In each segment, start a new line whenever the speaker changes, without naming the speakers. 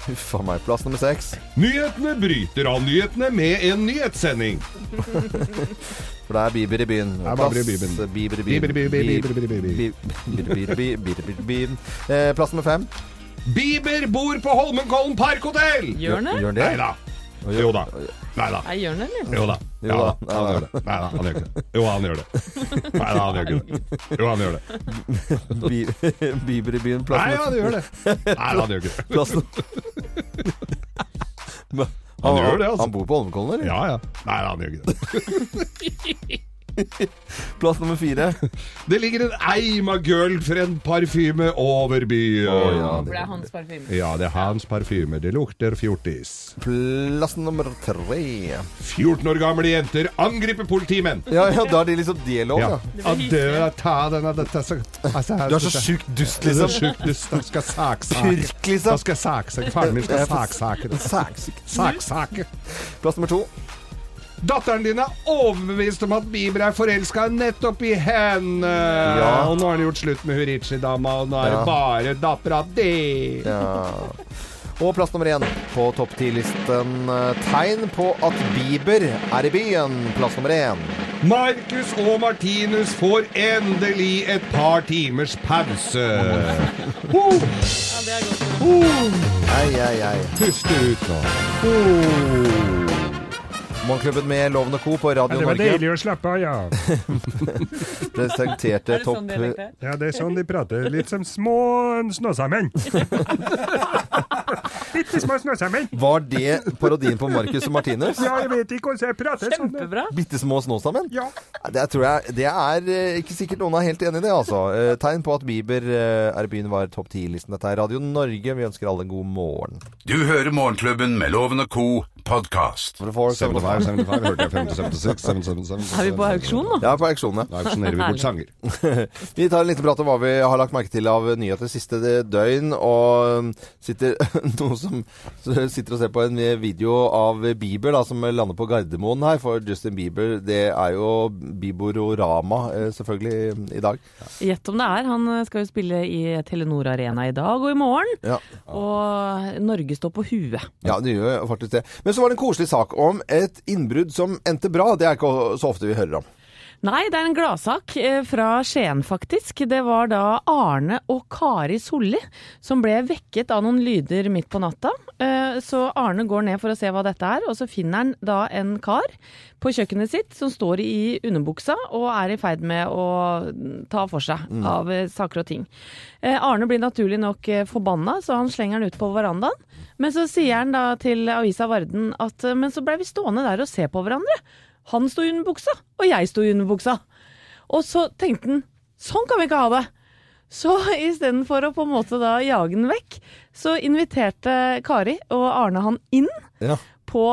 Huff a meg. Plass nummer seks.
Nyhetene bryter av nyhetene med en nyhetssending.
For det er Bieber i byen.
er bare Bieber i byen.
Bieber i
Bieber i byen, Bieber i byen, Bieber i byen.
byen. Eh, Plass nummer fem.
Bieber bor på Holmenkollen Parkhotell!
Gjør den det?
Gjør han
Nei
det?
da. Jo da. Nei da.
Nei, gjør den det, eller?
Jo da.
Jo
Ja,
da.
da. Han gjør det. Nei da, han gjør ikke det. Jo, han gjør det. Nei da, han gjør ikke det. Jo, han gjør det.
Bi- Bieber i byen.
Nei,
Plass
han gjør det. Nei, han gjør ikke det.
nummer Plass nummer
Han gjør det, altså.
Han bor på Holmenkollen, eller?
Ja, ja. Nei, han gjør ikke det.
Plass nummer fire.
Det ligger en eim av girlfriend-parfyme over byen.
For det er hans parfyme.
Ja, det er hans parfyme. Det lukter fjortis.
Plass nummer tre.
14 år gamle jenter angriper politimenn.
Ja, ja, da er de liksom det lov,
Ja.
ja.
Av døra, ta den av dette så, altså, her,
Du er så sjukt dust,
Du er så
liksom.
sjukt dust. Da skal saksake.
Purk,
Da
liksom.
skal saksake. Faren min skal
Jeg får-
saksake.
Saksik.
Saksake.
Plass nummer to.
Datteren din er overbevist om at Bieber er forelska nettopp i henne.
Ja.
Og nå har han gjort slutt med Hurichi-dama, og nå er
Ja.
det bare dattera di.
Og plass nummer én på topp ti-listen. eh, Tegn på at Bieber er i byen. Plass nummer én.
Marcus og Martinus får endelig et par timers pause. Ho,
Ja, det er godt.
ho,
Ei, ei, ei.
puste ut nå.
Morgenklubben med Loven og Co. på Radio Norge
å slappe av, ja.
presenterte
Er det
topp
sånn dialekt er?
Ja, Det er sånn de prater. Litt som små snåsamen. Bitte små snåsamen.
Var det parodien på Marcus og Martinus?
jeg vet ikke hvordan jeg prater sånn.
Kjempebra.
Bitte små snå sammen?
Ja.
Det, tror jeg, det er eh, ikke sikkert noen er helt enig i det, altså. Eh, Tegn på at Bieber eh, er i byen var topp ti-listen. Dette er Radio Norge. Vi ønsker alle en god morgen.
Du hører Morgenklubben med Loven og Co. podkast.
For folk,
75, 75, hørte jeg. 576, 777.
Er vi på auksjon nå?
ja, på auksjonene.
Da auksjonerer vi bort sanger.
Vi tar en liten prat om hva vi har lagt merke til av nyheter siste døgn. Og um, sitter noen som sitter og ser på en video av Bieber da, som lander på Gardermoen her. For Justin Bieber, det er jo Bieberorama eh, selvfølgelig i dag.
Gjett om det er. Han eh, skal jo spille i Telenor Arena i dag og i morgen.
Ja.
Og Norge står på huet.
Ja, det gjør jo faktisk det. Men så var det en koselig sak om et innbrudd som endte bra. Det er ikke så ofte vi hører om.
Nei, det er en gladsak eh, fra Skien, faktisk. Det var da Arne og Kari Solli som ble vekket av noen lyder midt på natta. Eh, Så Arne går ned for å se hva dette er, og så finner han da en kar på kjøkkenet sitt som står i underbuksa og er i ferd med å ta for seg av eh, saker og ting. Eh, Arne blir naturlig nok eh, forbanna, så han slenger den ut på verandaen. Men så sier han da til avisa Varden at eh, men så blei vi stående der og se på hverandre. Han sto i underbuksa, og jeg sto i underbuksa. Og så tenkte han sånn kan vi ikke ha det. Så istedenfor å på en måte da jage den vekk, så inviterte Kari og Arne han inn
Ja.
på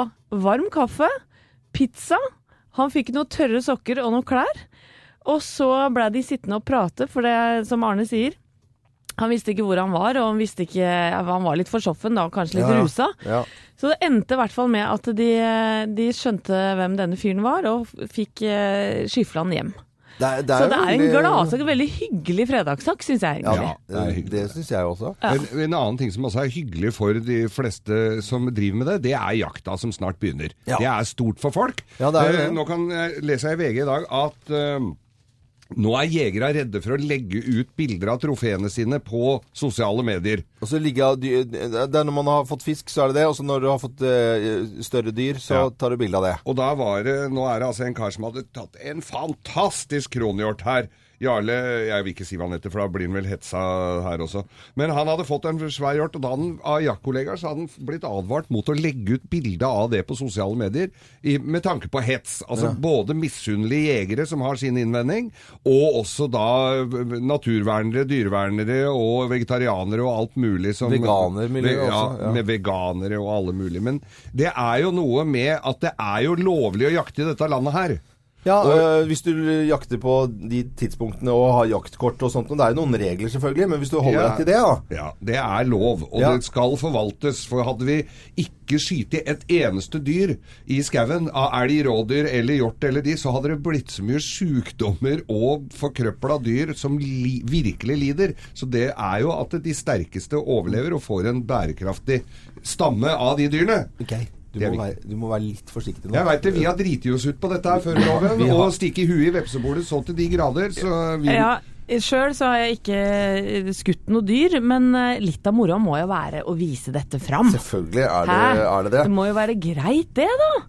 varm kaffe, pizza. Han fikk noen tørre sokker og noen klær. Og så ble de sittende og prate, for det som Arne sier Han visste ikke hvor han var, og han, visste ikke, han var litt for soffen da, og kanskje litt
Ja, ja.
rusa.
Ja.
Så det endte i hvert fall med at de, de skjønte hvem denne fyren var, og f- fikk eh, skyfla han hjem.
Det er, det
Så det er en
veldig-
gladsak, en veldig hyggelig fredagssak, syns jeg
Ja,
egentlig.
det, det syns jeg også.
En, en annen ting som også er hyggelig for de fleste som driver med det, det er jakta som snart begynner.
Ja.
Det er stort for folk.
Ja, det er det.
Eh, Nå kan jeg lese i VG i dag at eh, nå er jegere redde for å legge ut bilder av trofeene sine på sosiale medier.
Og så ligger dy- det er Når man har fått fisk, så er det det. Og så når du har fått eh, større dyr, så
Ja.
tar du bilde av det.
Og da var det, nå er det altså en kar som hadde tatt en fantastisk kronhjort her. Jarle, jeg vil ikke si hva han heter, for da blir han vel hetsa her også. Men han hadde fått en svær hjort, og da han, av jaktkollegaer så hadde han blitt advart mot å legge ut bilde av det på sosiale medier i, med tanke på hets. Altså både misunnelige jegere som har sin innvending, og også da eh, naturvernere, dyrevernere og vegetarianere og alt mulig som
Veganermiljøet
ja,
også, ja.
med veganere og alle mulige. Men det er jo noe med at det er jo lovlig å jakte i dette landet her.
Ja, øh, Hvis du jakter på de tidspunktene og har jaktkort og sånt, og det er jo noen regler selvfølgelig, men hvis du holder
Ja.
deg til det, da.
Ja, Det er lov, og
Ja.
det skal forvaltes. For hadde vi ikke skutt et eneste dyr i skauen av elg, rådyr eller hjort eller de, så hadde det blitt så mye sjukdommer og forkrøpla dyr som li virkelig lider. Så det er jo at de sterkeste overlever og får en bærekraftig stamme av de dyrene.
Du,
Det er
må
viktig.
være, du må være litt forsiktig nå.
Jeg veit det. Vi har driti oss ut på dette her før loven.
Vi har-
Og stikke huet i vepsebolet så til de grader. Så vi
Ja, Sjøl så har jeg ikke eh, skutt noe dyr, men eh, litt av moroa må jo være å vise dette fram.
Selvfølgelig er det
Hæ?
er det. det.
Det må jo være greit det, da.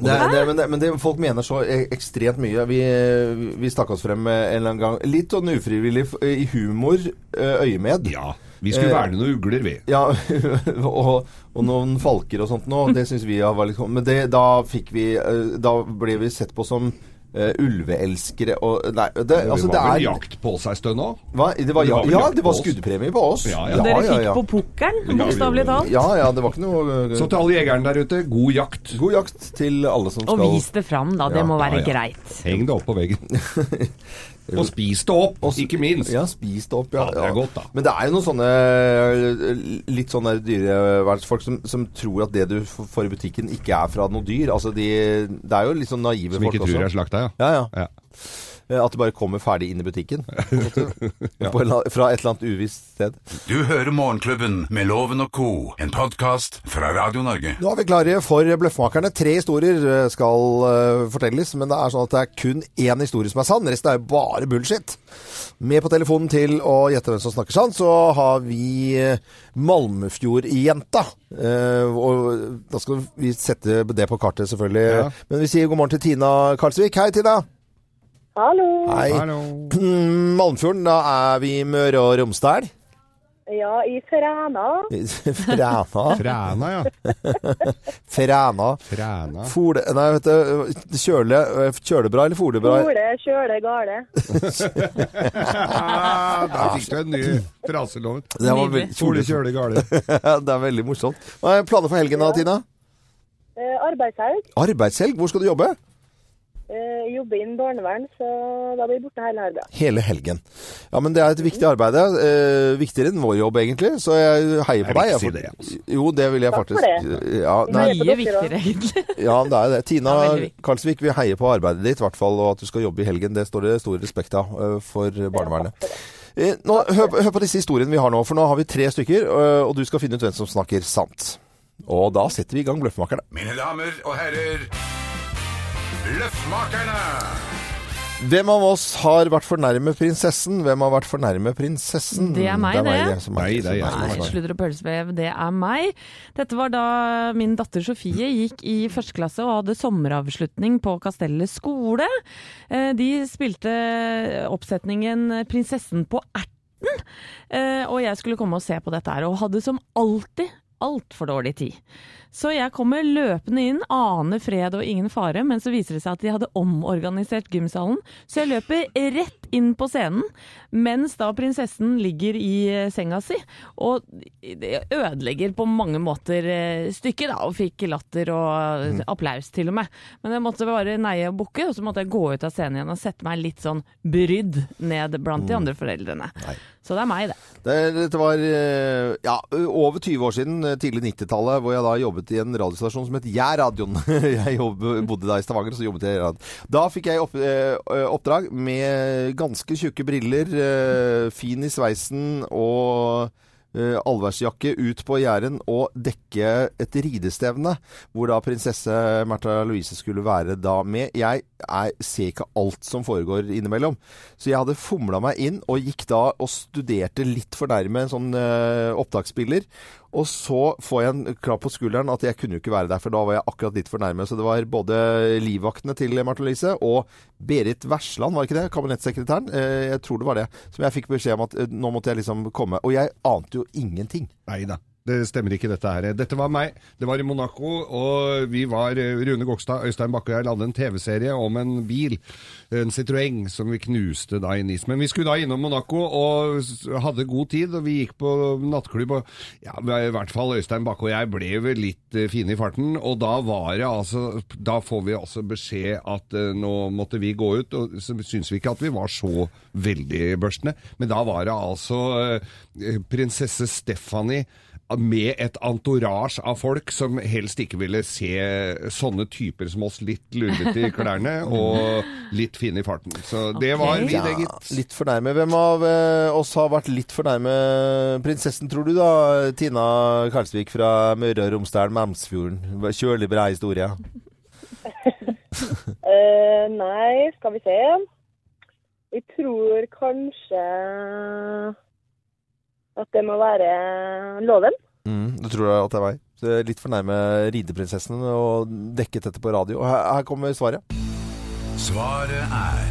det, er- det men det, men det, folk mener så e- ekstremt mye. Vi, vi stakk oss frem eh, en eller annen gang. Litt sånn ufrivillig f- i humor eh, øyemed.
Ja. Vi skulle verne noen ugler, vi.
Ja, og, og noen falker og sånt nå, det syns vi var litt sånn. Men det, da fikk vi eh, Da ble vi sett på som eh, ulveelskere og Nei, det, altså
det
det
var vel
er
jakt på seg stønn òg?
hva? Det var,
Det
ja,
var vel
ja,
jakt
det
på
var
oss.
skuddpremie på oss.
Ja, ja.
Og dere
ja,
fikk
ja.
på pukkelen, bokstavelig talt.
Ja, ja, det var ikke noe eh,
Så til alle jegerne der ute, god jakt.
God jakt til alle som
Og
skal
vis det fram, da. Det
Ja,
må
ja,
være
ja.
greit.
Heng det opp på veggen. Og spis det opp,
Og s-
ikke minst.
Ja, spis det opp. Ja,
Ja, det er godt, da.
Men det er jo noen sånne eh, litt sånne dyrevernsfolk som, som tror at det du f- får i butikken ikke er fra noe dyr. Altså, de, det er jo litt sånn naive
Som
folk
ikke tror
også.
jeg slakta, ja.
Ja, ja.
Ja.
Eh, At det bare kommer ferdig inn i butikken. på en måte. På en eller annen- Fra et eller annet uvisst sted.
Du hører Morgenklubben med Loven og Co., en podkast fra Radio Norge.
Nå er vi klare for Bløffmakerne. Tre historier eh, skal eh, fortelles, men det er sånn at det er kun én historie som er sann. Resten er jo bare bullshit. Med på telefonen til å gjette hvem som snakker sant, så har vi eh, Malmefjordjenta. Eh, og da skal vi sette det på kartet, selvfølgelig.
Ja.
Men vi sier god morgen til Tina Karlsvik. Hei, Tina.
Hallo.
Hei.
Hallo.
Mm, Malmfjorden, da er vi i Møre og Romsdal.
Ja, i Fræna.
Fræna.
Fræna, ja.
Fræna.
Fræna.
Fole... Nei, vet du. Kjøle... eh, Kjølebra eller folebra?
Ole, kjøle, gale.
Ah, der fikk du en ny fraseloven.
Det, var
Nydelig.
veldig,
Kjole,
kjole,
kjøle, gale.
det er veldig morsomt. Hva er planer for helgen da, Tina?
Eh, arbeidshelg.
Arbeidshelg? Hvor skal du jobbe?
Eh, jobber innen barnevern, så da blir jeg borte hele helga.
Hele helgen. Ja, men det er et viktig arbeid. Eh, viktigere enn vår jobb, egentlig. Så jeg heier på
Jeg vil ikke
deg.
si
for-
det, altså.
Jo, det vil jeg
Takk for
faktisk. Ja, nei,
Nei, på
Mye
dere,
viktigere, egentlig.
ja, det er jo det. Tina
Det er veldig viktig.
Karlsvik, vi heier på arbeidet ditt, i hvert fall. Og at du skal jobbe i helgen. Det står det stor respekt av eh, for barnevernet. Eh, Nå, hør, hør på disse historiene vi har nå, for nå har vi tre stykker. eh, Og du skal finne ut hvem som snakker sant. Og da setter vi i gang Bløffmakerne.
Mine damer og herrer, Løffmakerne!
Hvem av oss har vært for nærme prinsessen? Hvem har vært for nærme prinsessen?
Det er meg, det.
som
Nei, det er jeg som
som
er
Nei,
svarer.
sludder og pølsevev, det er meg. Dette var da min datter Sofie gikk i første klasse og hadde sommeravslutning på Kastellet skole. Eh, De spilte oppsetningen 'Prinsessen på erten', eh, og jeg skulle komme og se på dette her, og hadde som alltid altfor dårlig tid. Så jeg kommer løpende inn, aner fred og ingen fare, men så viser det seg at de hadde omorganisert gymsalen. Så jeg løper rett inn på scenen, mens da prinsessen ligger i eh, senga si. Og det ødelegger på mange måter eh, stykket, da, og fikk latter og eh, applaus til og med. Men jeg måtte bare neie og bukke, og så måtte jeg gå ut av scenen igjen og sette meg litt sånn brydd ned blant de andre foreldrene. Så det er meg, det.
Det- Dette var eh, ja, over 20 år siden, eh, tidlig 90-tallet, hvor jeg da jobbet i en radiostasjon som het Jærradioen. Jeg jobb, bodde da i Stavanger, så jobbet jeg i radioen. Da fikk jeg opp, eh, oppdrag med ganske tjukke briller, eh, fin i sveisen og eh, allværsjakke ut på Jæren og dekke et ridestevne, hvor da prinsesse Märtha Louise skulle være da med. Jeg er, ser ikke alt som foregår innimellom. Så jeg hadde fomla meg inn og gikk da og studerte litt for nærme en sånn eh, opptaksspiller. Og så får jeg en klapp på skulderen at jeg kunne jo ikke være der, for da var jeg akkurat litt for nærme. Så det var både livvaktene til Marte Lise og Berit Versland, var ikke det? Kabinettsekretæren. Eh, jeg tror det var det. Som jeg fikk beskjed om at eh, nå måtte jeg liksom komme. Og jeg ante jo ingenting.
Nei da. Det stemmer ikke, dette her. Dette var meg. Det var i Monaco, og vi var eh, Rune Gokstad, Øystein Bakke og jeg lagde en TV-serie om en bil, en Citroën, som vi knuste da i Nis. Men vi skulle da innom Monaco og s- hadde god tid, og vi gikk på nattklubb, og ja, i hvert fall Øystein Bakke og jeg ble vel litt eh, fine i farten, og da var det altså Da får vi altså beskjed at eh, nå måtte vi gå ut, og så syns vi ikke at vi var så veldig børstende, men da var det altså eh, prinsesse Stephanie eh, med et entourage av folk som helst ikke ville se sånne typer som oss litt lurvete i klærne og litt fine i farten. Så det
Ok.
var vi,
Ja,
det, gitt.
Litt for nærme. Hvem av eh, oss har vært litt for nærme prinsessen, tror du da? Tina Karlsvik fra Møre og Romsdal, Mamsfjorden. Kjølig bra historie.
Eh, nei, skal vi se. Jeg tror kanskje at det må være loven.
Mm, du tror at det er meg? Så jeg er Litt for nærme rideprinsessen og dekket dette på radio. Og her, her kommer svaret.
Svaret er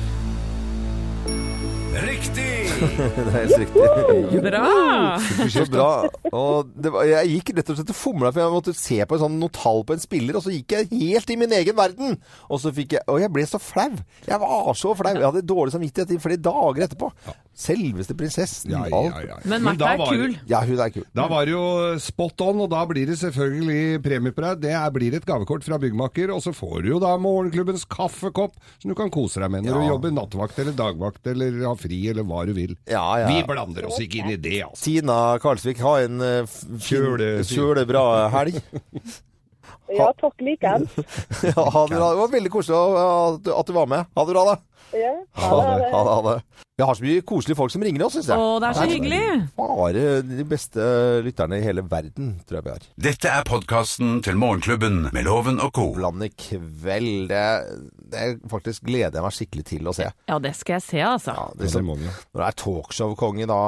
Riktig!
Det er helt riktig.
Bra!
Så bra. Og det var, jeg gikk rett og slett og fomla, for jeg måtte se på en sånn notall på en spiller, og så gikk jeg helt i min egen verden. Og så fikk jeg Og jeg ble så flau. Jeg var så flau. Jeg hadde dårlig samvittighet i flere dager etterpå. Selveste prinsessen.
Ja, ja, ja, ja.
Men Märtha
da
er
var det-
kul.
Ja, hun er kul.
Da var det jo spot on, og da blir det selvfølgelig premie på deg. Det er, blir et gavekort fra byggmaker, og så får du jo da morgenklubbens kaffekopp, som du kan kose deg med når du jobber nattevakt eller dagvakt eller har fri eller hva du vil.
Ja, ja.
Vi blander oss ikke inn i det, altså.
Tina Karlsvik, ha en eh, fin-
Kjøle-
kjølebra helg.
Ja, takk likeens.
Ja, ha det, bra. det var veldig koselig at du- at du var med. Ha det bra, da.
Ja, ha
Ha
det, ha
det,
det.
ha det, ha det. Vi har så mye koselige folk som ringer oss, syns jeg.
Å, det er så hyggelig.
Bare de beste lytterne i hele verden, tror jeg vi har.
Dette er podkasten til Morgenklubben med Loven og co.
Landet kveld, det, det er faktisk gleder jeg meg skikkelig til å se.
Ja, det skal jeg se, altså.
Ja, det, liksom,
må vi.
når det er talkshow-konge da,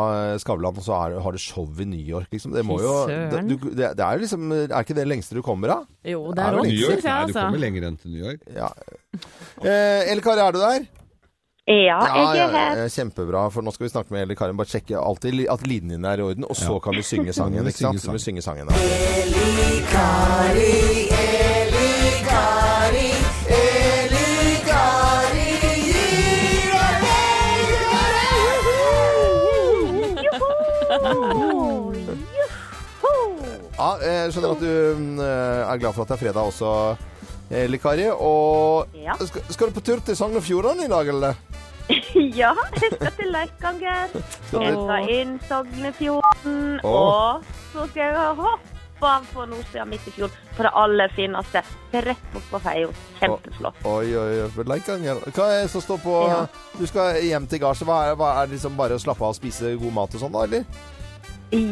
Skavlan, og så er, det- har du show i New York, liksom. Det må
Fy
jo det,
søren.
du, det, det er jo liksom Er ikke det lengste du kommer, da?
Jo, det
Er
er
det
rått,
New York?
syns jeg,
Nei, du
altså.
kommer lenger enn til New York.
Ja. Eh, Elle Kari, er du der?
Ja, jeg er her.
ja, Kjempebra, for nå skal vi snakke med Elle Kari. Bare sjekke alltid li- at linjen din er i orden, og så kan vi synge sangen.
vi
ikke sant?
synge
Så
sangen.
kan vi synge sangen da. Ja, jeg skjønner at du mm, er glad for at det er fredag også, Elle Kari. Og
Ja.
skal, skal du på tur til Sogn og Fjordane i dag, eller?
Ja, jeg skal til Leikanger. Jeg skal inn Sognefjorden. Og så skal jeg hoppe av på Nordsida midt i fjorden. På det aller fineste. Rett bort på Feio. Kjempeflott.
Oi, oi, oi. for Leikanger. Hva er det som står på
Ja.
Du skal hjem til Garset. Hva er, hva er det liksom bare å slappe av og spise god mat og sånn, da, eller?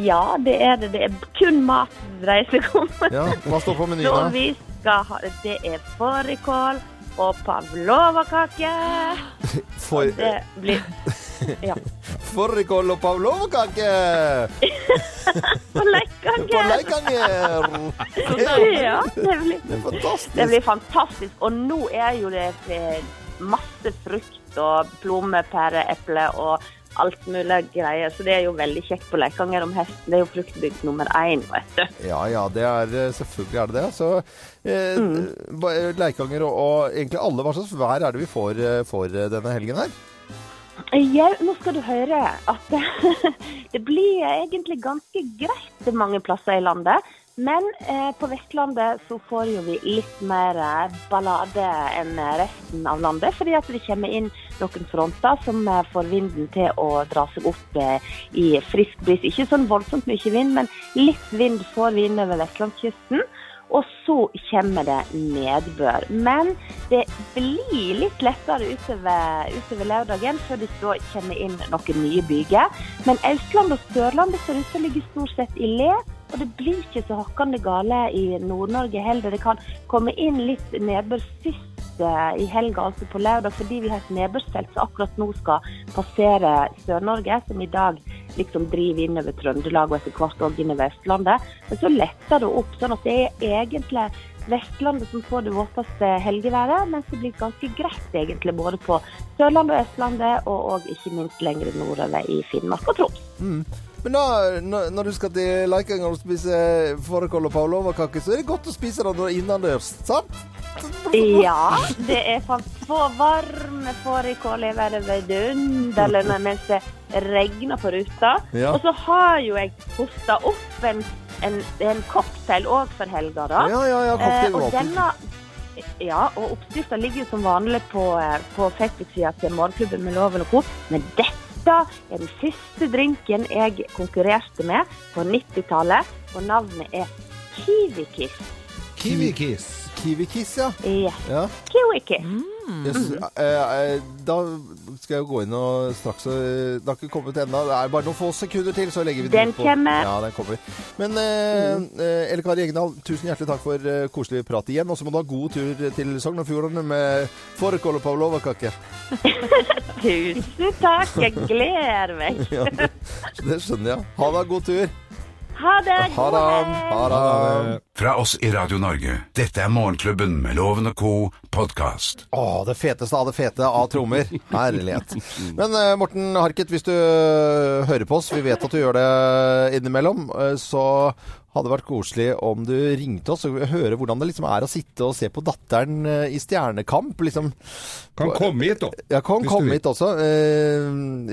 Ja, det er det. Det er kun mat det dreier seg om.
Ja, Hva står på menyen,
Så
da?
vi skal ha Det er fårikål og pavlovakake.
For,
Det blir Ja.
Fårikål og pavlovkake
På
på
Leikanger.
Leikanger!
Ja, det blir
Det er
Det
fantastisk.
blir fantastisk. Og nå er jo det eh, masse frukt og plommer, pære, eple og alt mulig greier. Så det er jo veldig kjekt på Leikanger om høsten. Det er jo fruktbygd nummer én, vet du.
Ja ja, det er eh, selvfølgelig er det det. Så eh,
Mm.
ba- eh, Leikanger og, og egentlig alle, hva slags vær er det vi får, eh, får eh, denne helgen her?
Jau, nå skal du høre at det, det blir egentlig ganske greit mange plasser i landet. Men eh, på Vestlandet så får jo vi litt mer eh, ballade enn resten av landet. Fordi at det kommer inn noen fronter som eh, får vinden til å dra seg opp eh, i frisk bris. Ikke sånn voldsomt mye vind, men litt vind får vi innover vestlandskysten. Og så kommer det nedbør. Men det blir litt lettere utover, utover lørdagen, før det da kommer inn noen nye byger. Men Østland og Sørlandet ser ut til å ligge stort sett i le. Og det blir ikke så hakkande gale i Nord-Norge heller. Det kan komme inn litt nedbør sist eh, i helga, altså på lørdag, fordi vi har et nedbørsfelt som akkurat nå skal passere Sør-Norge, som i dag liksom driver innover Trøndelag og etter hvert òg innover Østlandet. Men så letter det opp, sånn at det er egentlig Vestlandet som får det våteste helgeværet, mens det blir ganske greit egentlig både på Sørlandet og Østlandet, og, og ikke minst lenger nordover i Finnmark og Troms.
Men da, når- når du skal til Leikanger og spise fårikål og pavlovakake, så er det godt å spise det når- innendørs, sant?
Ja, det er fan- få varme fårikål i været vidunderlig mens det regner på ruta.
Ja.
Og så har jo jeg hosta opp en, en, en cocktail òg for helga, da.
Ja, ja, ja.
Eh,
Cocktail
og
åpen.
denne ja, og oppskrifta ligger jo som vanlig på, eh, på Facebook-sida til Morgenklubben med Loven og Co. Men dette er den første drinken jeg konkurrerte med på 90-tallet, og navnet er Kiwi-Kiss.
Kiwi-kiss.
Kiwi-kiss, ja.
Ja,
ja.
Kiwi-Kiss.
Mm.
Jøss, eh, eh, da skal jeg jo gå inn og straks og Det har ikke kommet ennå. Det er bare noen få sekunder til, så legger vi
Den
ut på.
kommer.
Ja, den kommer. Men eh, eh, Elle Kari Egendal, tusen hjertelig takk for eh, koselig prat igjen. Og så må du ha god tur til Sogn og Fjordane med fårikål og pavlovakake.
Tusen takk, jeg gleder meg.
Ja, det, det skjønner jeg. Ha da god tur.
Ha det!
Ha det. Ha det.
Fra oss i Radio Norge. Dette er Morgenklubben med Loven og Co. podkast.
Å, det feteste av det fete av trommer. Herlighet. Men eh, Morten Harket, hvis du eh, hører på oss, vi vet at du gjør det innimellom, eh, så hadde det vært koselig om du ringte oss og høre hvordan det liksom er å sitte og se på datteren eh, i Stjernekamp. Liksom.
Kan komme hit, da.
Jeg kan
Hvis du
komme
vil.
hit også. Eh,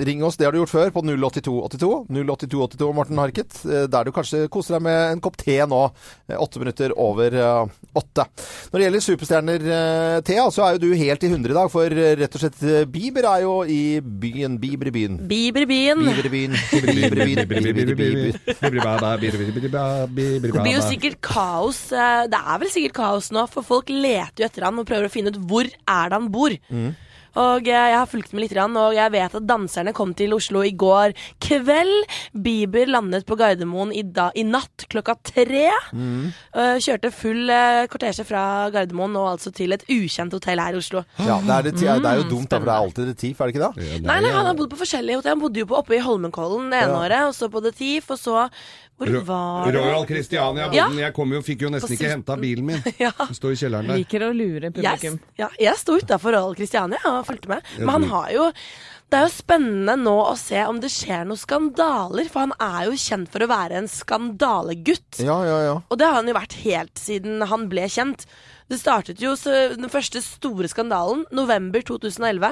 ring oss, det har du gjort før, på 08282. 08282, Morten Harket. Eh, der du kanskje koser deg med en kopp te nå, eh, åtte minutter over eh, åtte. Når det gjelder superstjerner-tea, så er jo du helt i hundre i dag, for eh, rett og slett eh, Bieber er jo i byen. Bieber i byen.
Bieber i byen.
Bieber i byen. Bieber i byen. Bieber i byen.
Det blir jo sikkert kaos. eh, Det er vel sikkert kaos nå, for folk leter jo etter han og prøver å finne ut hvor er det han bor. Og eh, jeg har fulgt med litt, grann, og jeg vet at danserne kom til Oslo i går kveld. Bieber landet på Gardermoen i, da, i natt klokka tre. Eh, Kjørte full eh, kortesje fra Gardermoen og altså til et ukjent hotell her i Oslo.
Ja, det er, det, ti- det er jo dumt, da, for det er alltid det TIF, er det ikke det?
Nei, nei, han har bodd på forskjellige hotell. Han bodde jo på oppe i Holmenkollen det ene
Ja.
året, og så på The Thief, og så Hvor var det?
Royal Christiania.
Ja.
Bodden. Jeg kom jo, fikk jo nesten
På
ikke
sisten.
henta bilen min.
Ja.
Den står i kjelleren der.
Liker å lure
Jeg,
publikum.
ja, jeg sto utafor Royal Christiania og fulgte med. Men han har jo Det er jo spennende nå å se om det skjer noen skandaler, for han er jo kjent for å være en skandalegutt.
Ja, ja, ja.
Og det har han jo vært helt siden han ble kjent. Det startet jo så, den første store skandalen, november 2011,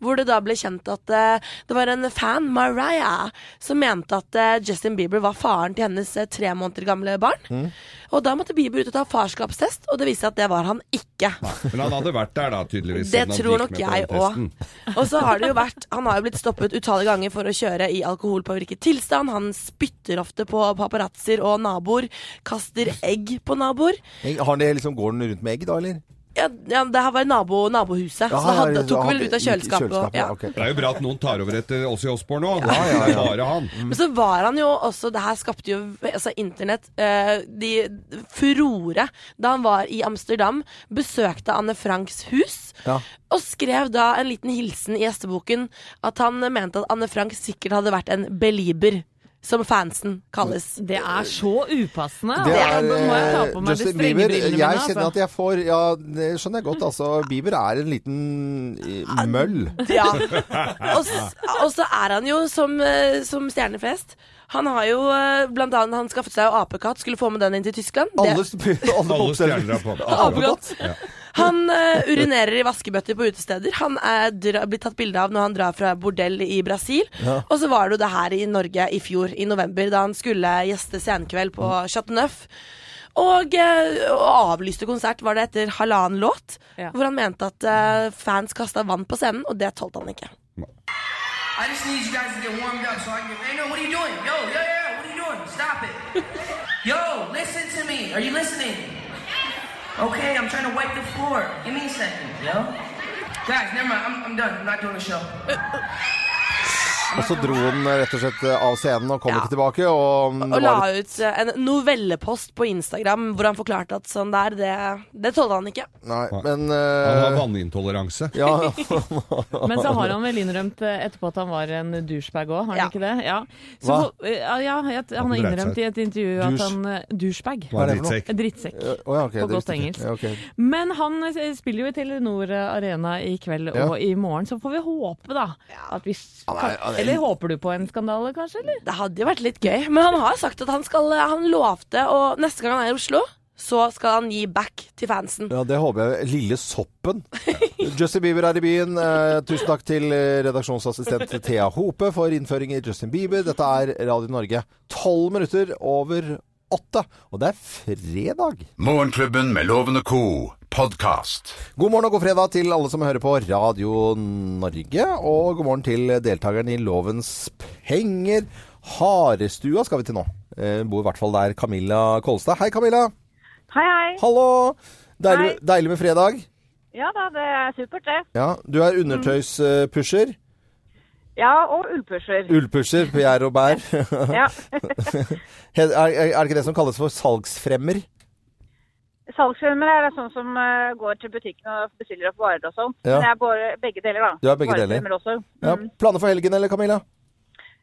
hvor det da ble kjent at eh, det var en fan, Mariah, som mente at eh, Justin Bieber var faren til hennes eh, tre måneder gamle barn. Og da måtte Bieber ut og ta farskapstest, og det viste seg at det var han ikke.
Men han hadde vært der, da, tydeligvis.
Det
siden han
tror
gikk
nok
med på
jeg
den
òg.
testen.
Og så har det jo vært Han har jo blitt stoppet utallige ganger for å kjøre i alkoholpåvirket tilstand. Han spytter ofte på paparazzoer og naboer. Kaster egg på naboer.
Har det liksom, går den rundt med egg, da, eller?
Ja, ja, det her var i nabo, nabohuset, så
Ja,
det
ja,
hadde,
ja,
tok
han-
vel ut av kjøleskapet. Og, ja.
ok.
Det er jo bra at noen tar over etter oss i Osborne nå. Det
ja,
er
ja.
bare han.
Men så var han jo også Det her skapte jo altså, internett eh, de, furore da han var i Amsterdam, besøkte Anne Franks hus.
Ja.
Og skrev da en liten hilsen i gjesteboken at han mente at Anne Frank sikkert hadde vært en belieber, som fansen kalles.
Det er så upassende.
Det er,
altså. Nå må jeg ta på
eh,
meg de
Justin
strenge
Bieber.
brillene mine. altså.
Jeg kjenner at jeg får Ja, det skjønner jeg godt, altså. Bieber er en liten eh, møll.
Ja. Og, s- og så er han jo som, eh, som stjerner flest. Han har jo eh, blant annet han skaffet seg jo apekatt, skulle få med den inn til Tyskland. Det-
Alle, sp- alle
Alle
popstjerner.
stjerner er på.
Apekatt. Han eh, urinerer i vaskebøtter på utesteder. Han er dra blir tatt bilde av når han drar fra bordell i Brasil. Og så var det jo det her i Norge i fjor, i november, da han skulle gjeste senkveld på Chateau Neuf. Og, eh, og avlyste konsert var det etter halvannen låt,
Ja.
hvor han mente at eh, fans kasta vann på scenen, og det tålte han ikke.
I just need you guys to get warmed up so I can. Hey, no, what are you doing? Yo, yo, yo, what are you doing? Stop it. Yo, listen to me. Are you listening? Okay, I'm trying to wipe the floor. Give me a second, yo. Guys, never mind. I'm, I'm done. I'm not doing the show.
Og så dro han eh, rett og slett eh, av scenen og kom
Ja.
ikke tilbake. Og, um,
Og la ut eh, en novellepost på Instagram hvor han forklarte at sånn der, det, det tålte han ikke.
Nei, men
Han har
eh,
vannintoleranse.
ja,
Men så har han vel innrømt eh, etterpå at han var en douchebag òg, har han
Ja.
ikke det? Ja. Så,
Hva?
eh, ja, ja, at han har
dreit
innrømt
seg
i et intervju
Douche.
at han eh, Douchebag.
Bare
det for noe?
drittsekk.
Drittsekk.
Å, ja, ok,
På
det
godt
visste jeg
engelsk.
ikke. Ja, ok.
Men han eh, spiller jo i Telenor eh, Arena i kveld
Ja.
og i morgen, så får vi håpe, da. At vi
nei, ja, det-
Eller håper du på en skandale, kanskje? Eller?
Det hadde jo vært litt gøy, men han har sagt at han skal Han lovte, og neste gang han er i Oslo, så skal han gi back til fansen.
Ja, det håper jeg. Lille soppen. Justin Bieber er i byen. Eh, tusen takk til eh, redaksjonsassistent Thea Hope for innføring i Justin Bieber. Dette er Radio Norge. Tolv minutter over åtte. Og det er fredag.
Morgenklubben med Loven og Co. podkast.
God morgen og god fredag til alle som hører på Radio Norge. Og god morgen til deltakerne i Lovens penger. Harestua skal vi til nå. Eh, bor i hvert fall der Camilla Kolstad. Hei, Camilla.
Hei, hei.
Hallo. Deilig,
Hei.
deilig med fredag.
Ja da, det er supert, det.
Ja, du er undertøyspusher.
Ja, og ullpusher.
Ullpusher, Pierre Robert.
Ja.
Er, er er det ikke det som kalles for salgsfremmer?
Salgsfilmer er sånn som eh, går til butikken og bestiller opp varer og sånn.
Ja.
Men jeg er bare begge deler, da.
Du er begge
Varefilmer også.
Ja,
Mm.
Planer for helgen, eller, Camilla?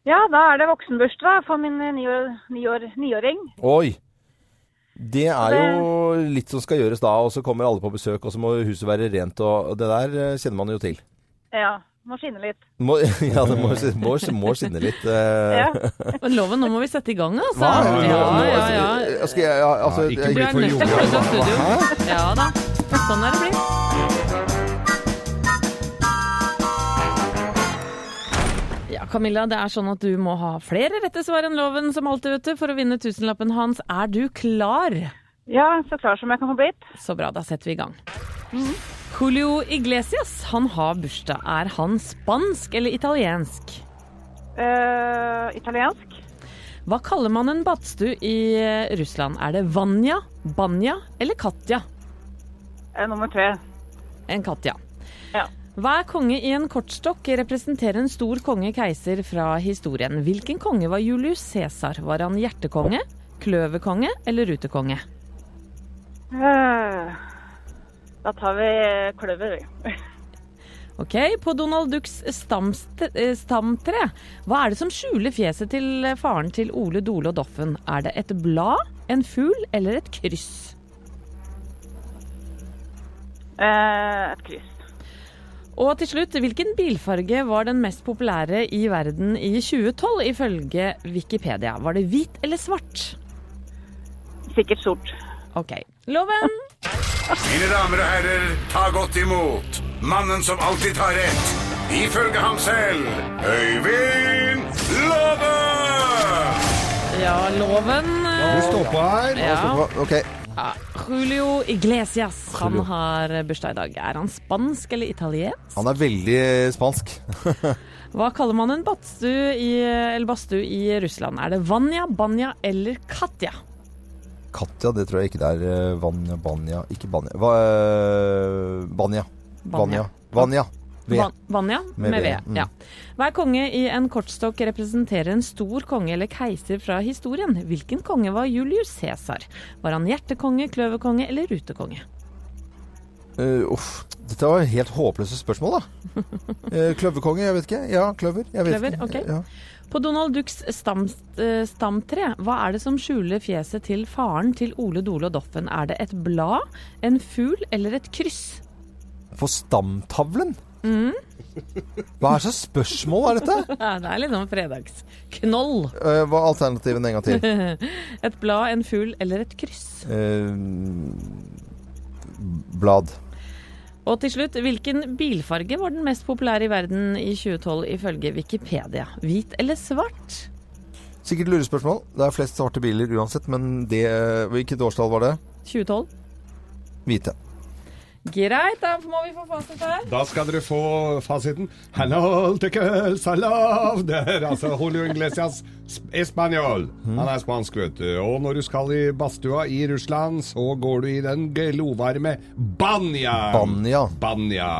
Ja, da er det voksenbursdag for min eh, niår- niår- niåring.
Oi! Det er jo litt som skal gjøres da, og så kommer alle på besøk, og så må huset være rent, og og det der eh, kjenner man jo til.
Ja, må skinne litt.
Må, ja, det må, må, må skinne litt. eh.
Ja.
Men Loven, nå må vi sette i gang, altså.
Hva? Nå-
Ja,
nå-
ja, ja.
altså, Skal jeg, ja, altså,
Du er nødt til å flytte opp studio. Ja da. Sånn er det blitt. Ja, Camilla, det er sånn at du må ha flere rette svar enn loven som alltid, vet du, for å vinne tusenlappen hans. Er du klar?
Ja, så klar som jeg kan få blitt.
Så bra, da setter vi i gang. Julio Iglesias, han har bursdag. Er han spansk eller italiensk?
Eh, italiensk.
Hva kaller man en badstue i eh, Russland? Er det Vanja, Banja eller Katja?
Eh, nummer tre.
En Katja.
Ja.
Hva er konge i en kortstokk representerer en stor konge-keiser fra historien? Hvilken konge var Julius Cæsar? Var han hjertekonge, kløverkonge eller rutekonge?
Eh, da tar vi kløver, vi.
Ok, På Donald Ducks stamstre, eh, stamtre, hva er det som skjuler fjeset til eh, faren til Ole Dole og Doffen? Er det et blad, en fugl eller et kryss?
Eh, et kryss.
Og til slutt, hvilken bilfarge var den mest populære i verden i 2012 ifølge Wikipedia? Var det hvit eller svart?
Sikkert sort.
Ok. Loven!
Mine damer og herrer, ta godt imot mannen som alltid tar rett. Ifølge ham selv Øyvind Låve!
Ja, loven.
Vi stopper her.
Ja.
Ok,
Ja, Julio Iglesias. Han har bursdag i dag. Er han spansk eller italiensk?
han er veldig eh, spansk.
Hva kaller man en badstue i, eller badstue i Russland? Er det Vanja, Banja eller Katja?
Katja, det tror jeg ikke det er. eh, Vanja, Banja Ikke Banja. Hva, eh, Banja. Vanja. Vanja. V.
Van- Vanja
Med
med,
V,
V.
mm.
Ja. Hver konge i en kortstokk representerer en stor konge eller keiser fra historien. Hvilken konge var Julius Cæsar? Var han hjertekonge, kløverkonge eller rutekonge?
Eh, uff. Dette var helt håpløse spørsmål, da. Eh, kløverkonge, jeg vet ikke. Ja, kløver. Jeg vet
Kløver,
ikke.
ok.
Ja.
På Donald Ducks stam, eh, stamtre, hva er det som skjuler fjeset til faren til Ole Dole og Doffen? Er det et blad, en fugl eller et kryss?
På stamtavlen?
Mm.
Hva er så spørsmål er dette?
Ja, det er litt sånn fredagsknoll.
Eh, hva er alternativene en gang til?
Et blad, en fugl eller et kryss?
Eh, blad.
Og til slutt, hvilken bilfarge var den mest populære i verden i 2012 ifølge Wikipedia? Hvit eller svart?
Sikkert lurespørsmål. Det er flest svarte biler uansett, men det Hvilket årstall var det?
2012.
Hvite.
Greit, da må vi få fasit her.
Da skal dere få fasiten. Hello, take us, I love there. Altså Julio Iglesias sp- Espanol.
Mm.
Han er spansk, vet du. Og når du skal i badstua i Russland, så går du i den glovarme banja.
Banja.
Banja.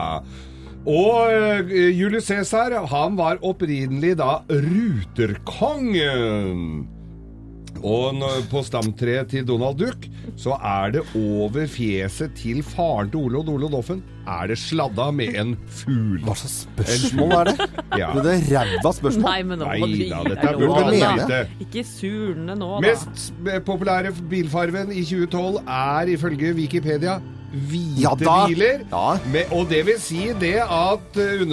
Og eh, Julius Cæsar, han var opprinnelig da ruterkongen. Og når, på stamtreet til Donald Duck så er det over fjeset til faren til Ole og Dole og Doffen er det sladda med en fugl.
Hva slags spørsmål er det?
Ja.
Det er ræva spørsmål.
Nei, men nå
Nei
må du gi
da,
deg
dette
lov,
burde
du
da.
vite.
Ikke surne nå, da.
Mest sp- populære bilfarven i 2012 er ifølge Wikipedia hvite
Ja da.
biler.
Ja.
Med, og det vil si det at eh,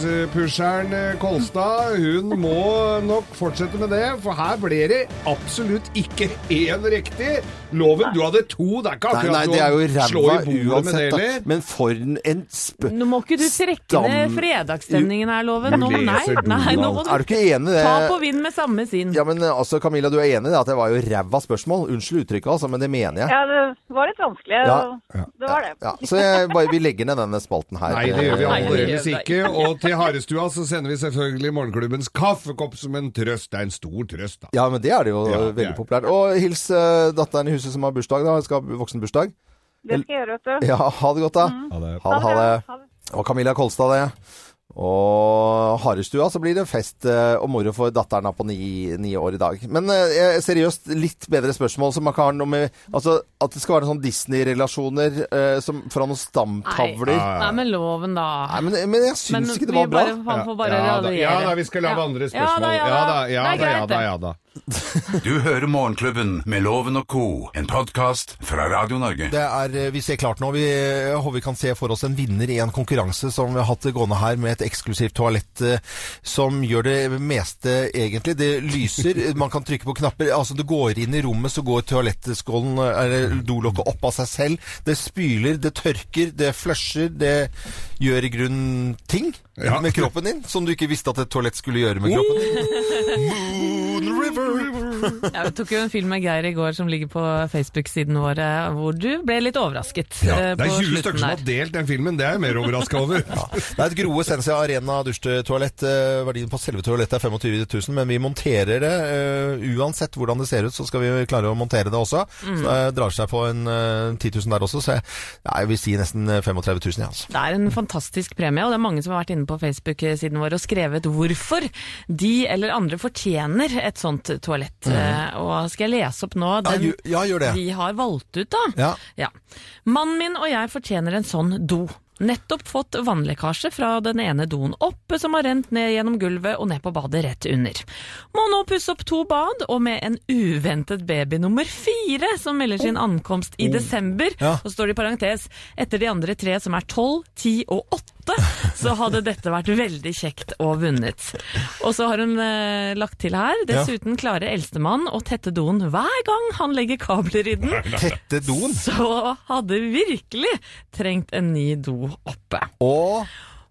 undertøyspusheren eh, Kolstad, hun må nok fortsette med det, for her ble det absolutt ikke én riktig. Loven, du hadde to, det er ikke
Nei,
akkurat
nei, det er jo
å slå
ræva
i bordet med det
uansett. Da.
heller.
Men for en- en spø...
Nå må ikke du trekke ned
Stam-
fredagsstemningen her, Loven. Nå,
Du
nei,
leser
nei, nå må
Er du ikke enig i det?
ta
eh,
på vind med samme sinn.
Ja, men eh, altså, Camilla, du er enig i det at det var jo ræva spørsmål? Unnskyld uttrykket, altså, men det mener jeg.
Ja, det var litt vanskelig.
Ja.
Det var det.
Ja, så jeg, bare, vi legger ned denne spalten her.
Nei, det gjør vi
Nei, det gjør
aldeles
vi
ikke. Og til Harestua så sender vi selvfølgelig morgenklubbens kaffekopp som en trøst. Det er en stor trøst, da.
Ja, men det er det jo
Ja, det
eh, veldig
er det.
populært. Og hils eh, datteren i huset som har bursdag, da. Hun skal ha voksenbursdag.
Det skal jeg gjøre, vet du.
Ja, ha det godt, da. Ha det, ha det.
Ha det.
Og Camilla Kolstad, det.
Og Harestua så blir det fest eh, og moro for datteren da på ni, ni år i dag. Men eh, jeg- seriøst, litt bedre spørsmål som man kan ha noe med Altså at det skal være sånn Disney-relasjoner eh, som fra noen stamtavler. Nei,
Nei, men loven, da.
men, men jeg
Men
syns ikke det
vi
var bra.
bare- han får bare
ja, da,
raljere.
ja da, vi skal lage
Ja.
andre
Ja da,
spørsmål.
ja
Ja da,
da.
ja
Nei,
da, ja
greit
da.
det.
Ja, da.
Du hører Morgenklubben med Loven og co., en podkast fra Radio Norge.
Det er, eh, vi ser klart nå. Vi eh, håper vi kan se for oss en vinner i en konkurranse som vi har hatt gående her med et eksklusivt toalett eh, som gjør det meste egentlig. Det lyser, eh, man kan trykke på knapper. Altså du går inn i rommet, så går toalettskålen eh, eller dolokket opp av seg selv. Det spyler, det tørker, det flusher, det gjør i grunnen ting
Ja.
med kroppen din som du ikke visste at et toalett skulle gjøre med kroppen din. Moon River!
Ja, vi tok jo en film med Geir i går som ligger på Facebook-siden vår, eh, hvor du ble litt overrasket. eh,
Det er
på
20
slutten
stykker som har
der.
delt den filmen, det er jeg mer overraska over.
Det er et Groe Sensia Arena dusjtoalett. Eh, Verdien på selve toalettet er 25 000, men vi monterer det. eh, Uansett hvordan det ser ut, så skal vi klare å montere det også. Så det drar seg på en eh, 10 000 der også, så jeg, ja, jeg vil si nesten eh, 35 000, jeg, altså.
Det er en fantastisk premie, og det er mange som har vært inne på Facebook-siden vår og skrevet hvorfor de eller andre fortjener et sånt toalett. Eh, Og skal jeg lese opp nå
Mhm. Ja,
den
gjør- ja, gjør det.
vi har valgt ut, da?
Ja.
Ja. Mannen min og jeg fortjener en sånn do. Nettopp fått vannlekkasje fra den ene doen oppe som har rent ned gjennom gulvet og ned på badet rett under. Må nå pusse opp to bad, og med en uventet baby nummer fire som melder sin ankomst i desember.
Ja.
Og så står det i parentes etter de andre tre som er tolv, ti og åtte, så hadde dette vært veldig kjekt og vunnet. Og så har hun eh, lagt til her, dessuten klarer eldstemann å tette doen hver gang han legger kabler i den.
Tette doen.
Så hadde virkelig trengt en ny do oppe.
Og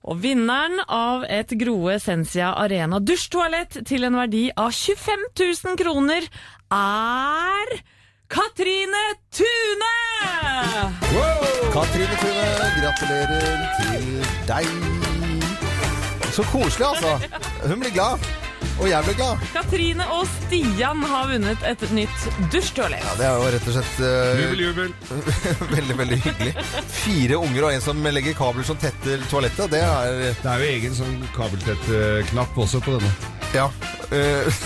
Og vinneren av et Groe Sensia Arena dusjtoalett til en verdi av 25 000 kroner er Katrine Tune!
Katrine Tune, gratulerer til deg. Så koselig, altså. Hun blir glad. Og jeg blir glad.
Katrine og Stian har vunnet et nytt dusjtoalett.
Det er jo rett og slett eh,
Jubel, jubel.
Veldig, veldig hyggelig. Fire unger og en som legger kabler som tetter toalettet. Det er
Det er jo egen sånn kabeltett-knapp også på denne.
Ja. eh,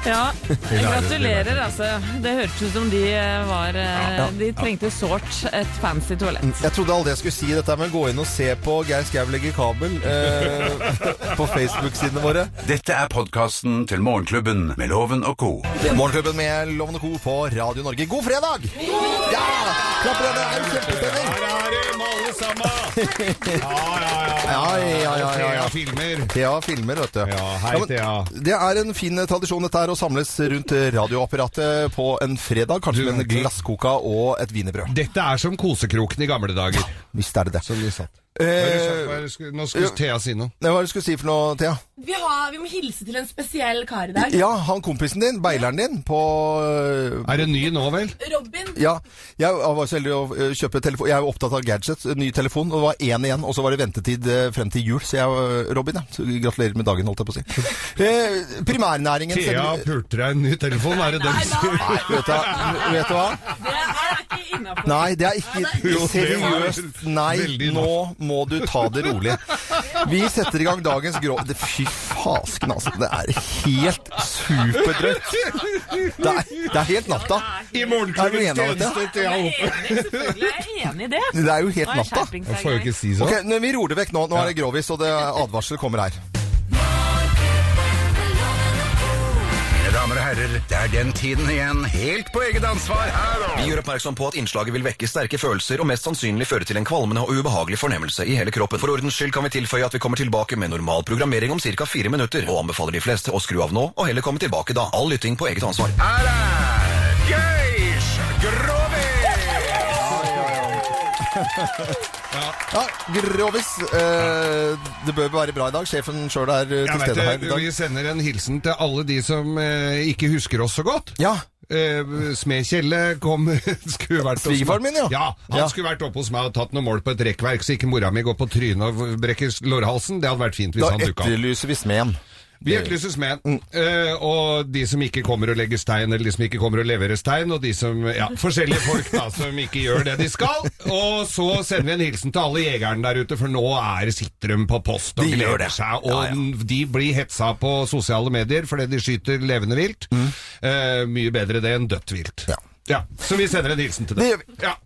Ja, gratulerer, altså. Det hørtes ut som de eh, var eh, De trengte sårt et fancy toalett.
jeg trodde aldri jeg skulle si dette, men gå inn og se på Geir Skau legger kabel eh, på Facebook-sidene våre.
Dette er podkasten til Morgenklubben med Loven og co.
Morgenklubben med Lovende Co på Radio Norge. God fredag! Ja! Klapper dere, det er jo kjempestemning!
Her er det med alle sammen! Ja, ja, ja.
Ja, ja, ja, ja, ja.
Thea filmer.
Thea filmer, vet du.
Ja, hei,
men
Thea.
Det er en fin tradisjon dette her, å samles rundt radioapparatet på en fredag. Kanskje med en glasskoka og et wienerbrød.
Dette er som kosekroken i gamle dager.
Hvis det er det.
Som vi satt. Hva er det du sa? Hva
Eh,
er det du skulle- Nå skulle Thea si noe.
Nei, Hva er det du skulle si for noe, Thea?
Vi, har, vi må hilse til en spesiell kar i dag.
Ja, han kompisen din, beileren din, på øh,
Er det ny nå, vel?
Robin.
ja, jeg var så heldig å øh, kjøpe telefon Jeg er jo opptatt av gadgets, øh, ny telefon Og det var én igjen, og så var det ventetid øh, frem til jul Så jeg, øh, Robin, ja. så gratulerer med dagen, holdt jeg på å si eh, Primærnæringen
Thea
selger-
pulte deg en ny telefon, er det det du sier?
Nei, vet du, hva- vet du hva?
Det er ikke innafor.
Nei, det er ikke
Jo, det var
seriøst.
vel-
Nei,
veldig
nå må du ta det rolig. Vi setter i gang dagens grå... Det- Fy fasken, altså. Det er helt superdrøyt. Det er, det er helt natta.
I
Er du
morgenklubbens
enig om dette?
tjeneste, Thea Hope.
Selvfølgelig er jeg enig i det.
Det er jo
Nå
helt
er jeg
natta.
skjerpings
Jeg
hver
får jo
gang.
ikke si sånn.
Ok, nå, Vi roer det vekk nå. Nå er det grovis, og det advarsel kommer her.
Mine damer og herrer, det er den tiden igjen, helt på eget ansvar her og
Vi gjør oppmerksom på at innslaget vil vekke sterke følelser og mest sannsynlig føre til en kvalmende og ubehagelig fornemmelse i hele kroppen. For ordens skyld kan vi tilføye at vi kommer tilbake med normal programmering om ca. fire minutter, og anbefaler de fleste å skru av nå og heller komme tilbake da. All lytting på eget ansvar.
Her er Geirs Grovis!
Ja, Grovis. Eh, det bør være bra i dag. Sjefen sjøl er eh, til
Jeg
stede her
vet,
i
det,
dag.
vi sender en hilsen til alle de som eh, ikke husker oss så godt.
Ja,
Eh, Smed Kjelle kom skulle vært hos meg.
Svigefaren min, ja.
ja han
Ja.
skulle vært oppe hos meg og tatt noen mål på et rekkverk, så ikke mora mi går på trynet og brekker lårhalsen. Det hadde vært fint hvis
Da
han dukka opp.
etterlyser vi smeden.
Vi etterlyses med. Eh, og de som ikke kommer og legger stein, eller de som ikke kommer og leverer stein, og de som Ja, forskjellige folk da, som ikke gjør det de skal. Og så sender vi en hilsen til alle jegerne der ute, for nå er, sitter de på post og
De gjør det.
gleder seg. Og de blir hetsa på sosiale medier fordi de skyter levende vilt.
Mm.
Eh, mye bedre det enn dødt vilt. Ja. Så vi sender en hilsen til dem.
Det gjør
Ja.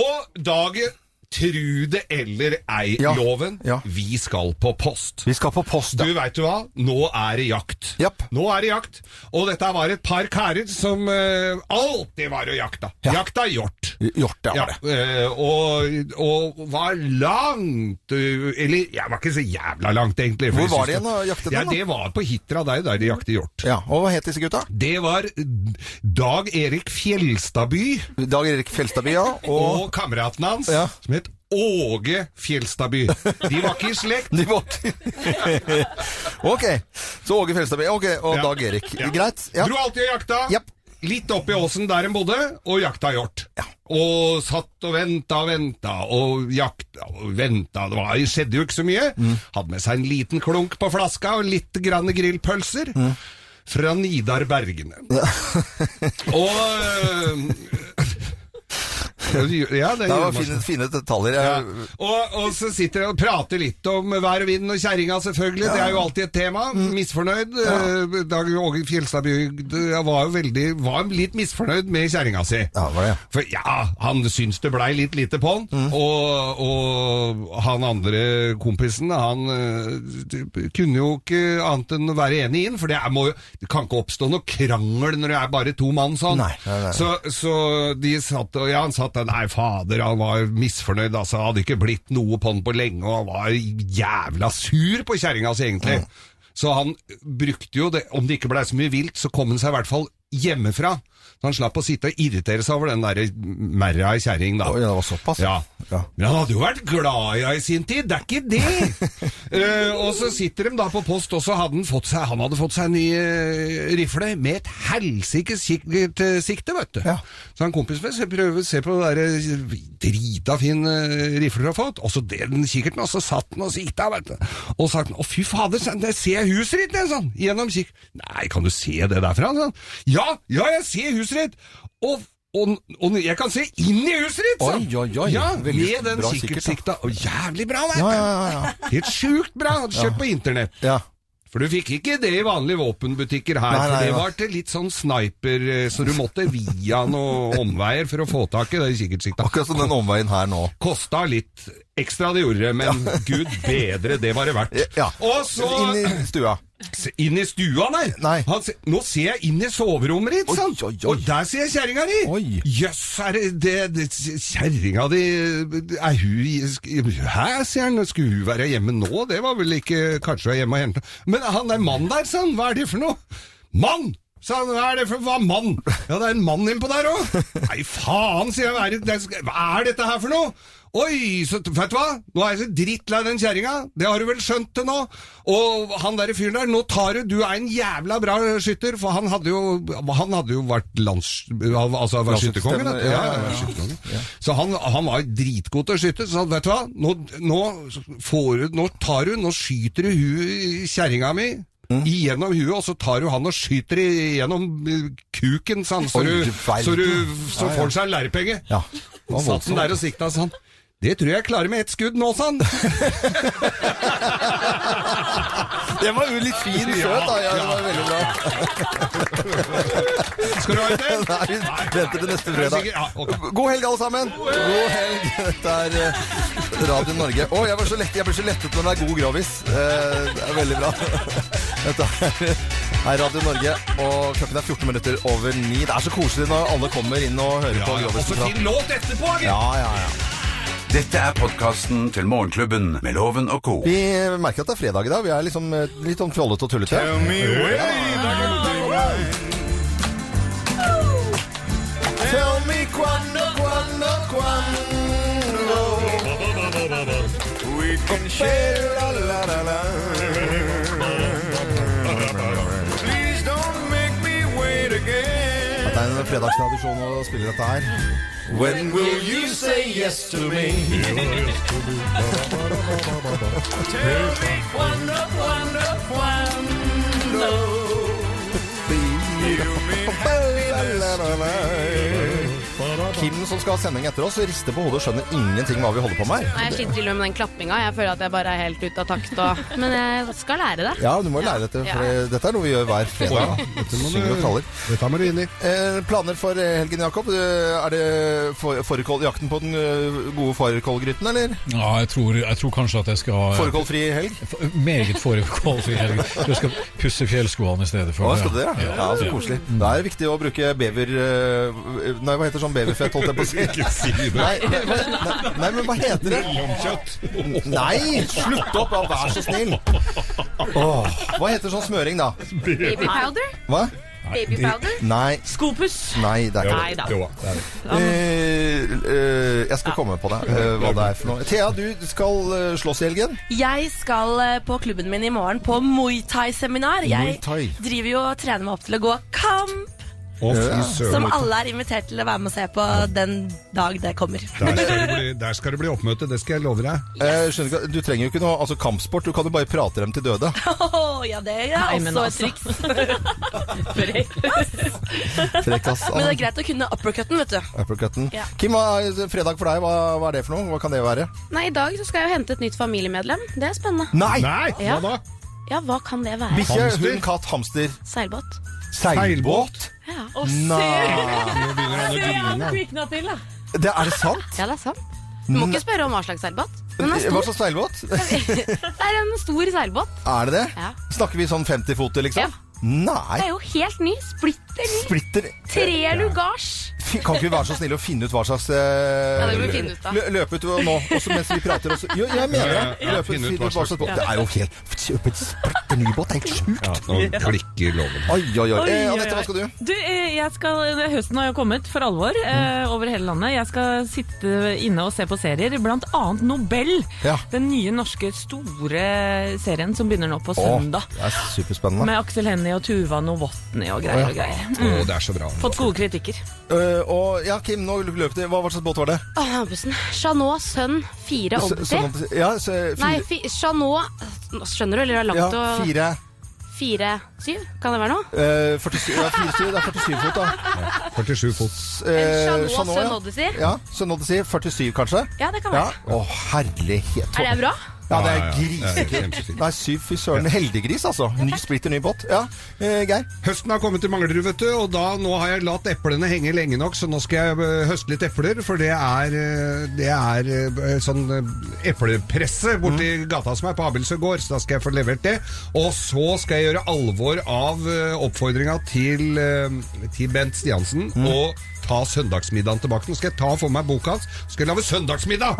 Og dagen Tru det eller
Ja.
ei-loven. Vi skal på post.
Vi skal på post,
Du veit du hva, nå er det jakt. Nå er det jakt. Og dette var et par karer som eh, alltid var og jakta. Jakta hjort.
Hjort, ja.
Ja, eh, og, og var langt eh, Eller jeg var ikke så jævla langt, egentlig. for
Hvor
jeg
var det
synes
igjen da, jaktet
Ja,
den, da?
det var på Hitra, det er jo der de jakter hjort.
Ja, og hva het disse gutta?
Det var Dag Erik Fjelstadby.
Dag Erik Fjelstadby, ja.
Og, kameraten hans, som het Åge Fjelstadby. De var ikke i slekt.
De var ikke Ok, så Åge Fjelstadby ok, og
Ja.
Dag Erik.
Ja.
Greit. Ja.
Dro alltid og jakta. Litt opp i åsen der en bodde, og jakta hjort. Og satt og venta og venta og jakta og venta. Det var, skjedde jo ikke så mye.
Mm.
Hadde med seg en liten klunk på flaska og litt grann grillpølser.
Mm.
Fra Nidar Bergene. og øh, Ja, det,
Det
gjorde
var
man
fine,
sånn.
fine detaljer. Jeg,
Og, og så sitter jeg og prater litt om vær og vind og kjerringa, selvfølgelig. Det er jo alltid et tema.
Mm.
Misfornøyd. Eh, Dag Åge Fjelstadby jeg var jo veldig var litt misfornøyd med kjerringa si. For ja, han syns det blei litt lite på han.
Mm.
Og, og han andre kompisen, han eh, kunne jo ikke annet enn å være enig i den, for det, er, må, jo- det kan ikke oppstå noe krangel når det er bare to mann sånn.
Nei, nei, nei.
Så, så de satt og ja, han satt der, nei fader, han var misfornøyd, altså, hadde ikke blitt noe på han på lenge, og han var jævla sur på kjerringa si egentlig. Så han brukte jo det, om det ikke ble så mye vilt, så kom han seg i hvert fall hjemmefra. Så han slapp å sitte og irritere seg over den der merra i kjerring da.
Oi, det var såpass.
Ja. Men han hadde jo vært glad i henne i sin tid, det er ikke det! Eh, og så sitter de da på post, og så hadde han fått seg, han hadde fått seg en ny eh, rifle med et helsikes sikkert eh, sikte, vet du. Så han kompisen min så prøver å se på den der eh, drita fin eh, rifle du har fått, og så det den kikkerten, og så satt den og sikta, vet du. Og sa han, å fy fader, sa han, der ser jeg huset ditt, sånn, gjennom kikk. Nei, kan du se det derfra, sa han. Ja, ja, jeg ser huset ditt! Og og, og jeg kan se inn i huset ditt! sa han.
Oi, oi, oi.
Sånn. Ja,
Veldig
med den
bra
kikkertsikta. Og jævlig bra, vet du!
Ja, ja, ja, ja.
Helt sjukt bra! Hadde kjøpt på internett. For du fikk ikke det i vanlige våpenbutikker her.
Nei, nei,
for det
nei.
var til litt sånn sniper, eh, så du måtte via noen omveier for å få tak i det kikkertsikta.
Akkurat som den omveien her nå.
Kosta litt ekstra, det gjorde det, men gud bedre, det var det verdt.
Ja.
Og så
Inn i stua.
Se, Inn i stua der? Han se, nå ser jeg inn i soverommet ditt, sant? Og der ser jeg kjerringa di! Jøss, er det, det, det Kjerringa di Er hun i- Hæ, sier han. Skulle hun være hjemme nå? Det var vel ikke Kanskje hun er hjemme og henter Men han der mannen der, sa han. Hva er det for noe? Mann! Sa han, hva er det for hva mann? Ja, det er en mann innpå der òg! Nei, faen, sier jeg. Hva er, det, det- hva er dette her for noe? Oi, så, vet du hva? Nå er jeg så drittlei den kjerringa. Det har du vel skjønt til nå? Og han derre fyren der, nå tar du Du er en jævla bra skytter, for han hadde jo, han hadde jo vært lands... Altså vært skytterkonge, da.
Ja, ja, ja.
skytterkonge. Så han, han var dritgod til å skyte. Så han, vet du hva, nå, nå, får, du- nå tar du, nå skyter du hu- kjerringa mi
Mm.
igjennom huet, og så tar du han og skyter igjennom eh, kuken, sånn, så,
Oi,
du,
du verden.
så, du,
Ja, ja.
så får han seg en lærepenge.
Ja. var
Satt han
voldsomt.
der og sikta sånn. Det tror jeg jeg klarer med ett skudd nå, sa han.
Den var jo litt fin
Ja,
søt, da. Ja, det
ja.
var veldig bra.
Skal du ha et til?
Nei, vi venter til neste
Er du
fredag.
sikker? Ja, ok.
God helg, alle sammen! God helg. Dette er eh, Radio Norge. Å, jeg, var så lett, jeg ble så lettet når det er god grovis. Eh, Det er veldig bra. Dette er, er Radio Norge, og klokken er 14 minutter over 9. Det er så koselig når alle kommer inn og hører
Ja,
på
ja. Og så
grovisen.
fin låt etterpå, gitt!
Ja, ja, ja.
Dette er podkasten til Morgenklubben med Loven og co.
Vi merker at det er fredag i dag. Vi er liksom eh, litt sånn fjollete og tullete. Tell me quando, quando, quando
We can share la la la la Please don't make me wait again
Det er en fredagstradisjon å spille dette her.
When will you say yes to me? Tell me quando, quando, quando
Kim som skal ha sending etter oss, rister på hodet og skjønner ingenting hva vi holder på med
Nei, jeg
her.
sliter til og med med den klappinga. Jeg føler at jeg bare er helt ute av takt. Og... Men eh, jeg skal lære det.
Ja, du må jo lære dette, for det- dette er noe vi gjør hver fredag.
Oi.
Dette må du- Synger og traller.
Dette må du inn i.
Eh, planer for eh, helgen, Jakob? Eh, Er det for- fårikåljakten på den eh, gode fårikålgryten, eller?
Ja, jeg tror, jeg tror kanskje at jeg skal ha
Fårikålfri helg?
F- Meget fårikålfri helg. Jeg skal pusse fjellskoene i stedet for.
Å, skal du det? Ja, ja så
Ja.
koselig. Da er det viktig å bruke bever... eh, Nei, hva heter sånn beverfett, holdt jeg på å si?
Ikke si det.
Nei, nei, nei, nei, men hva heter det? Mellomkjøtt. Nei, slutt opp, da, vær så snill. Åh, hva heter sånn smøring, da?
Baby powder?
Hva?
Baby powder?
Nei.
Skopus?
Nei, det er ikke
Nei da. Jo da, det er det.
Eh, eh, jeg skal komme på det, eh, hva det er for noe. Thea, du skal eh, slåss i helgen.
Jeg skal eh, på klubben min i morgen på Muay Thai-seminar.
Muay
Jeg
Thai.
driver jo og trener meg opp til å gå kamp.
Å, fy søren.
Som alle er invitert til å være med og se på den dag det kommer.
Der skal, det bli, der skal det bli oppmøte, det skal jeg love deg.
Eh, skjønner ikke, du trenger jo ikke noe altså kampsport, du kan jo bare prate dem til døde.
Åh, ja, det er
Nei, men
også
altså.
et triks.
Frekkas.
Men det er greit å kunne uppercutten, vet du.
Uppercutten.
Ja.
Kim, hva er fredag for deg? Hva, hva er det for noe? Hva kan det være?
Nei, i dag så skal jeg jo hente et nytt familiemedlem. Det er spennende.
Nei! Nei, hva
ja.
da?
Ja, hva kan det være?
Bikkje, hund, katt, hamster.
Seilbåt.
Seilbåt?
Ja.
Å, se! Nå begynner han å
Se, han
grine.
kvikna til, da.
Det, er det sant?
Ja, det er sant. Du må ikke spørre om hva slags seilbåt. Den er
Hva
stor.
slags seilbåt?
Det er en stor seilbåt.
Er det det?
Ja.
Snakker vi sånn 50-foter, liksom?
Ja.
Nei.
Det er jo helt ny. Splitter ny.
Splitter
Tre lugars.
Fy, Kan ikke vi være så snille å finne ut hva slags eh,
Ja, det må vi finne ut av.
lø- Løpe ut nå, også mens vi prater. Også. Jo, jeg mener det.
Ja, ja, ja.
Løpe
Finne
ut hva slags båt. Det er jo helt Kjøpe en splitter ny båt, det er helt sjukt.
Nå klikker loven.
Oi, oi, oi. Eh,
Oi,
Anette,
oi,
hva skal
oi.
du?
Du, eh, jeg skal, Høsten har jo kommet for alvor eh, over hele landet. Jeg skal sitte inne og se på serier, blant annet Nobel.
Ja.
Den nye norske store serien som begynner nå på søndag.
Å, det er superspennende.
Med Aksel Hennie og Tuva Novotny
Å, ja.
og greier og greier.
Å, det er så bra.
Fått gode kritikker.
Eh, og ja, Kim, nå løp det. Hva, hva slags båt var det?
Å, bussen. Chanot Sønn 4
S-
Obdi.
sånn opp- ja, så, fire,
Nei, fi, Chanot Nå Skjønner du, eller det er langt
ja,
og
fire,
4-7? Kan det være noe?
eh, 47, ja, 47, det er 47 fot, da.
47 fot.
Chanot Sun Odyssey.
Eh, Ja, Sun Odyssey. 47, kanskje?
Ja, det kan
Ja.
være.
Å, herlighet.
Er det bra?
Ja,
Ja,
det er
ja, ja. Det er
grisekult.
kjempefint.
Nei, syv fy søren. Heldiggris, altså. Ny splitter, ny båt. Ja, eh, Geir.
Høsten har kommet til Manglerud, vet du, og da, nå har jeg latt eplene henge lenge nok, så nå skal jeg eh, høste litt epler, for det er, eh, det er eh, sånn eh, eplepresse borti gata som er på Abildsø gård, så da skal jeg få levert det. Og så skal jeg gjøre alvor av eh, oppfordringa til, eh, til Bent Stiansen og ta søndagsmiddagen tilbake. Nå skal jeg ta for meg boka hans, så skal jeg lage søndagsmiddag!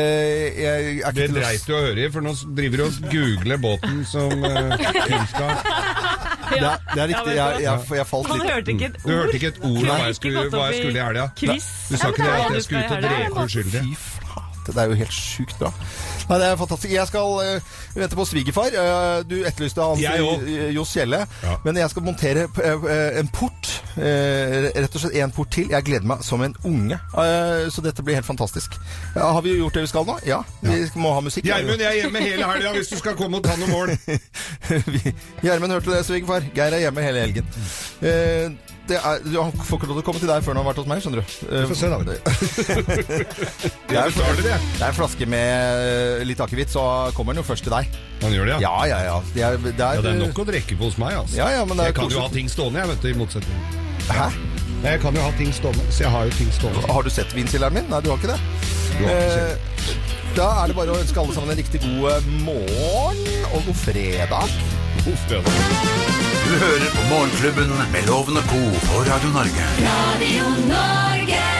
Eh,
det
til å-
dreit du å høre i, for nå driver du og googler båten som eh, kunnskap.
Det er, det er riktig. Jeg, jeg, jeg falt
Han
litt.
hørte ikke et Mm. Du ord. hørte ikke et ord om hva jeg skulle- hva jeg skulle i helga. Quiz. Du sa Ja, men ikke det er det at hva jeg du skulle skal ut i og helga. drepe uskyldige.
Fy flate, det er jo helt sjukt bra. Nei, det er fantastisk. Jeg skal eh, vente på svigerfar. Eh, du etterlyste han
Jeg
eh, Johs Kjelle. Men jeg skal montere eh, en port. eh, rett og slett en port til. Jeg gleder meg som en unge. Eh, så dette blir helt fantastisk. Eh, har vi gjort det vi skal nå? Ja. Vi må ha musikk.
Gjermund, jeg er hjemme hele helga hvis du skal komme og ta noen mål.
Vi- Gjermund hørte det, svigerfar. Geir er hjemme hele helgen. Eh, det er, du, han får ikke lov til å komme til deg før han har vært hos meg, skjønner du.
Vi får se, da.
det, er, det er en flaske med eh, litt akevitt, så kommer den jo først til deg.
Han gjør det,
ja? Ja, ja, Det er, det er,
Ja, det er nok å drikke på hos meg, altså.
Ja, ja, men det er
jeg kan jo
koselig.
ha ting stående, jeg, vet du, i motsetning.
Hæ?
Jeg kan jo ha ting stående, så jeg har jo ting stående.
Har du sett vinkjelleren min? Nei, du har ikke det.
Du har ikke
Eh, da er det bare å ønske alle sammen en riktig god eh, morgen og god fredag.
God fredag.
Du hører på Morgenklubben med Loven og Co. på Radio Norge.
Radio Norge.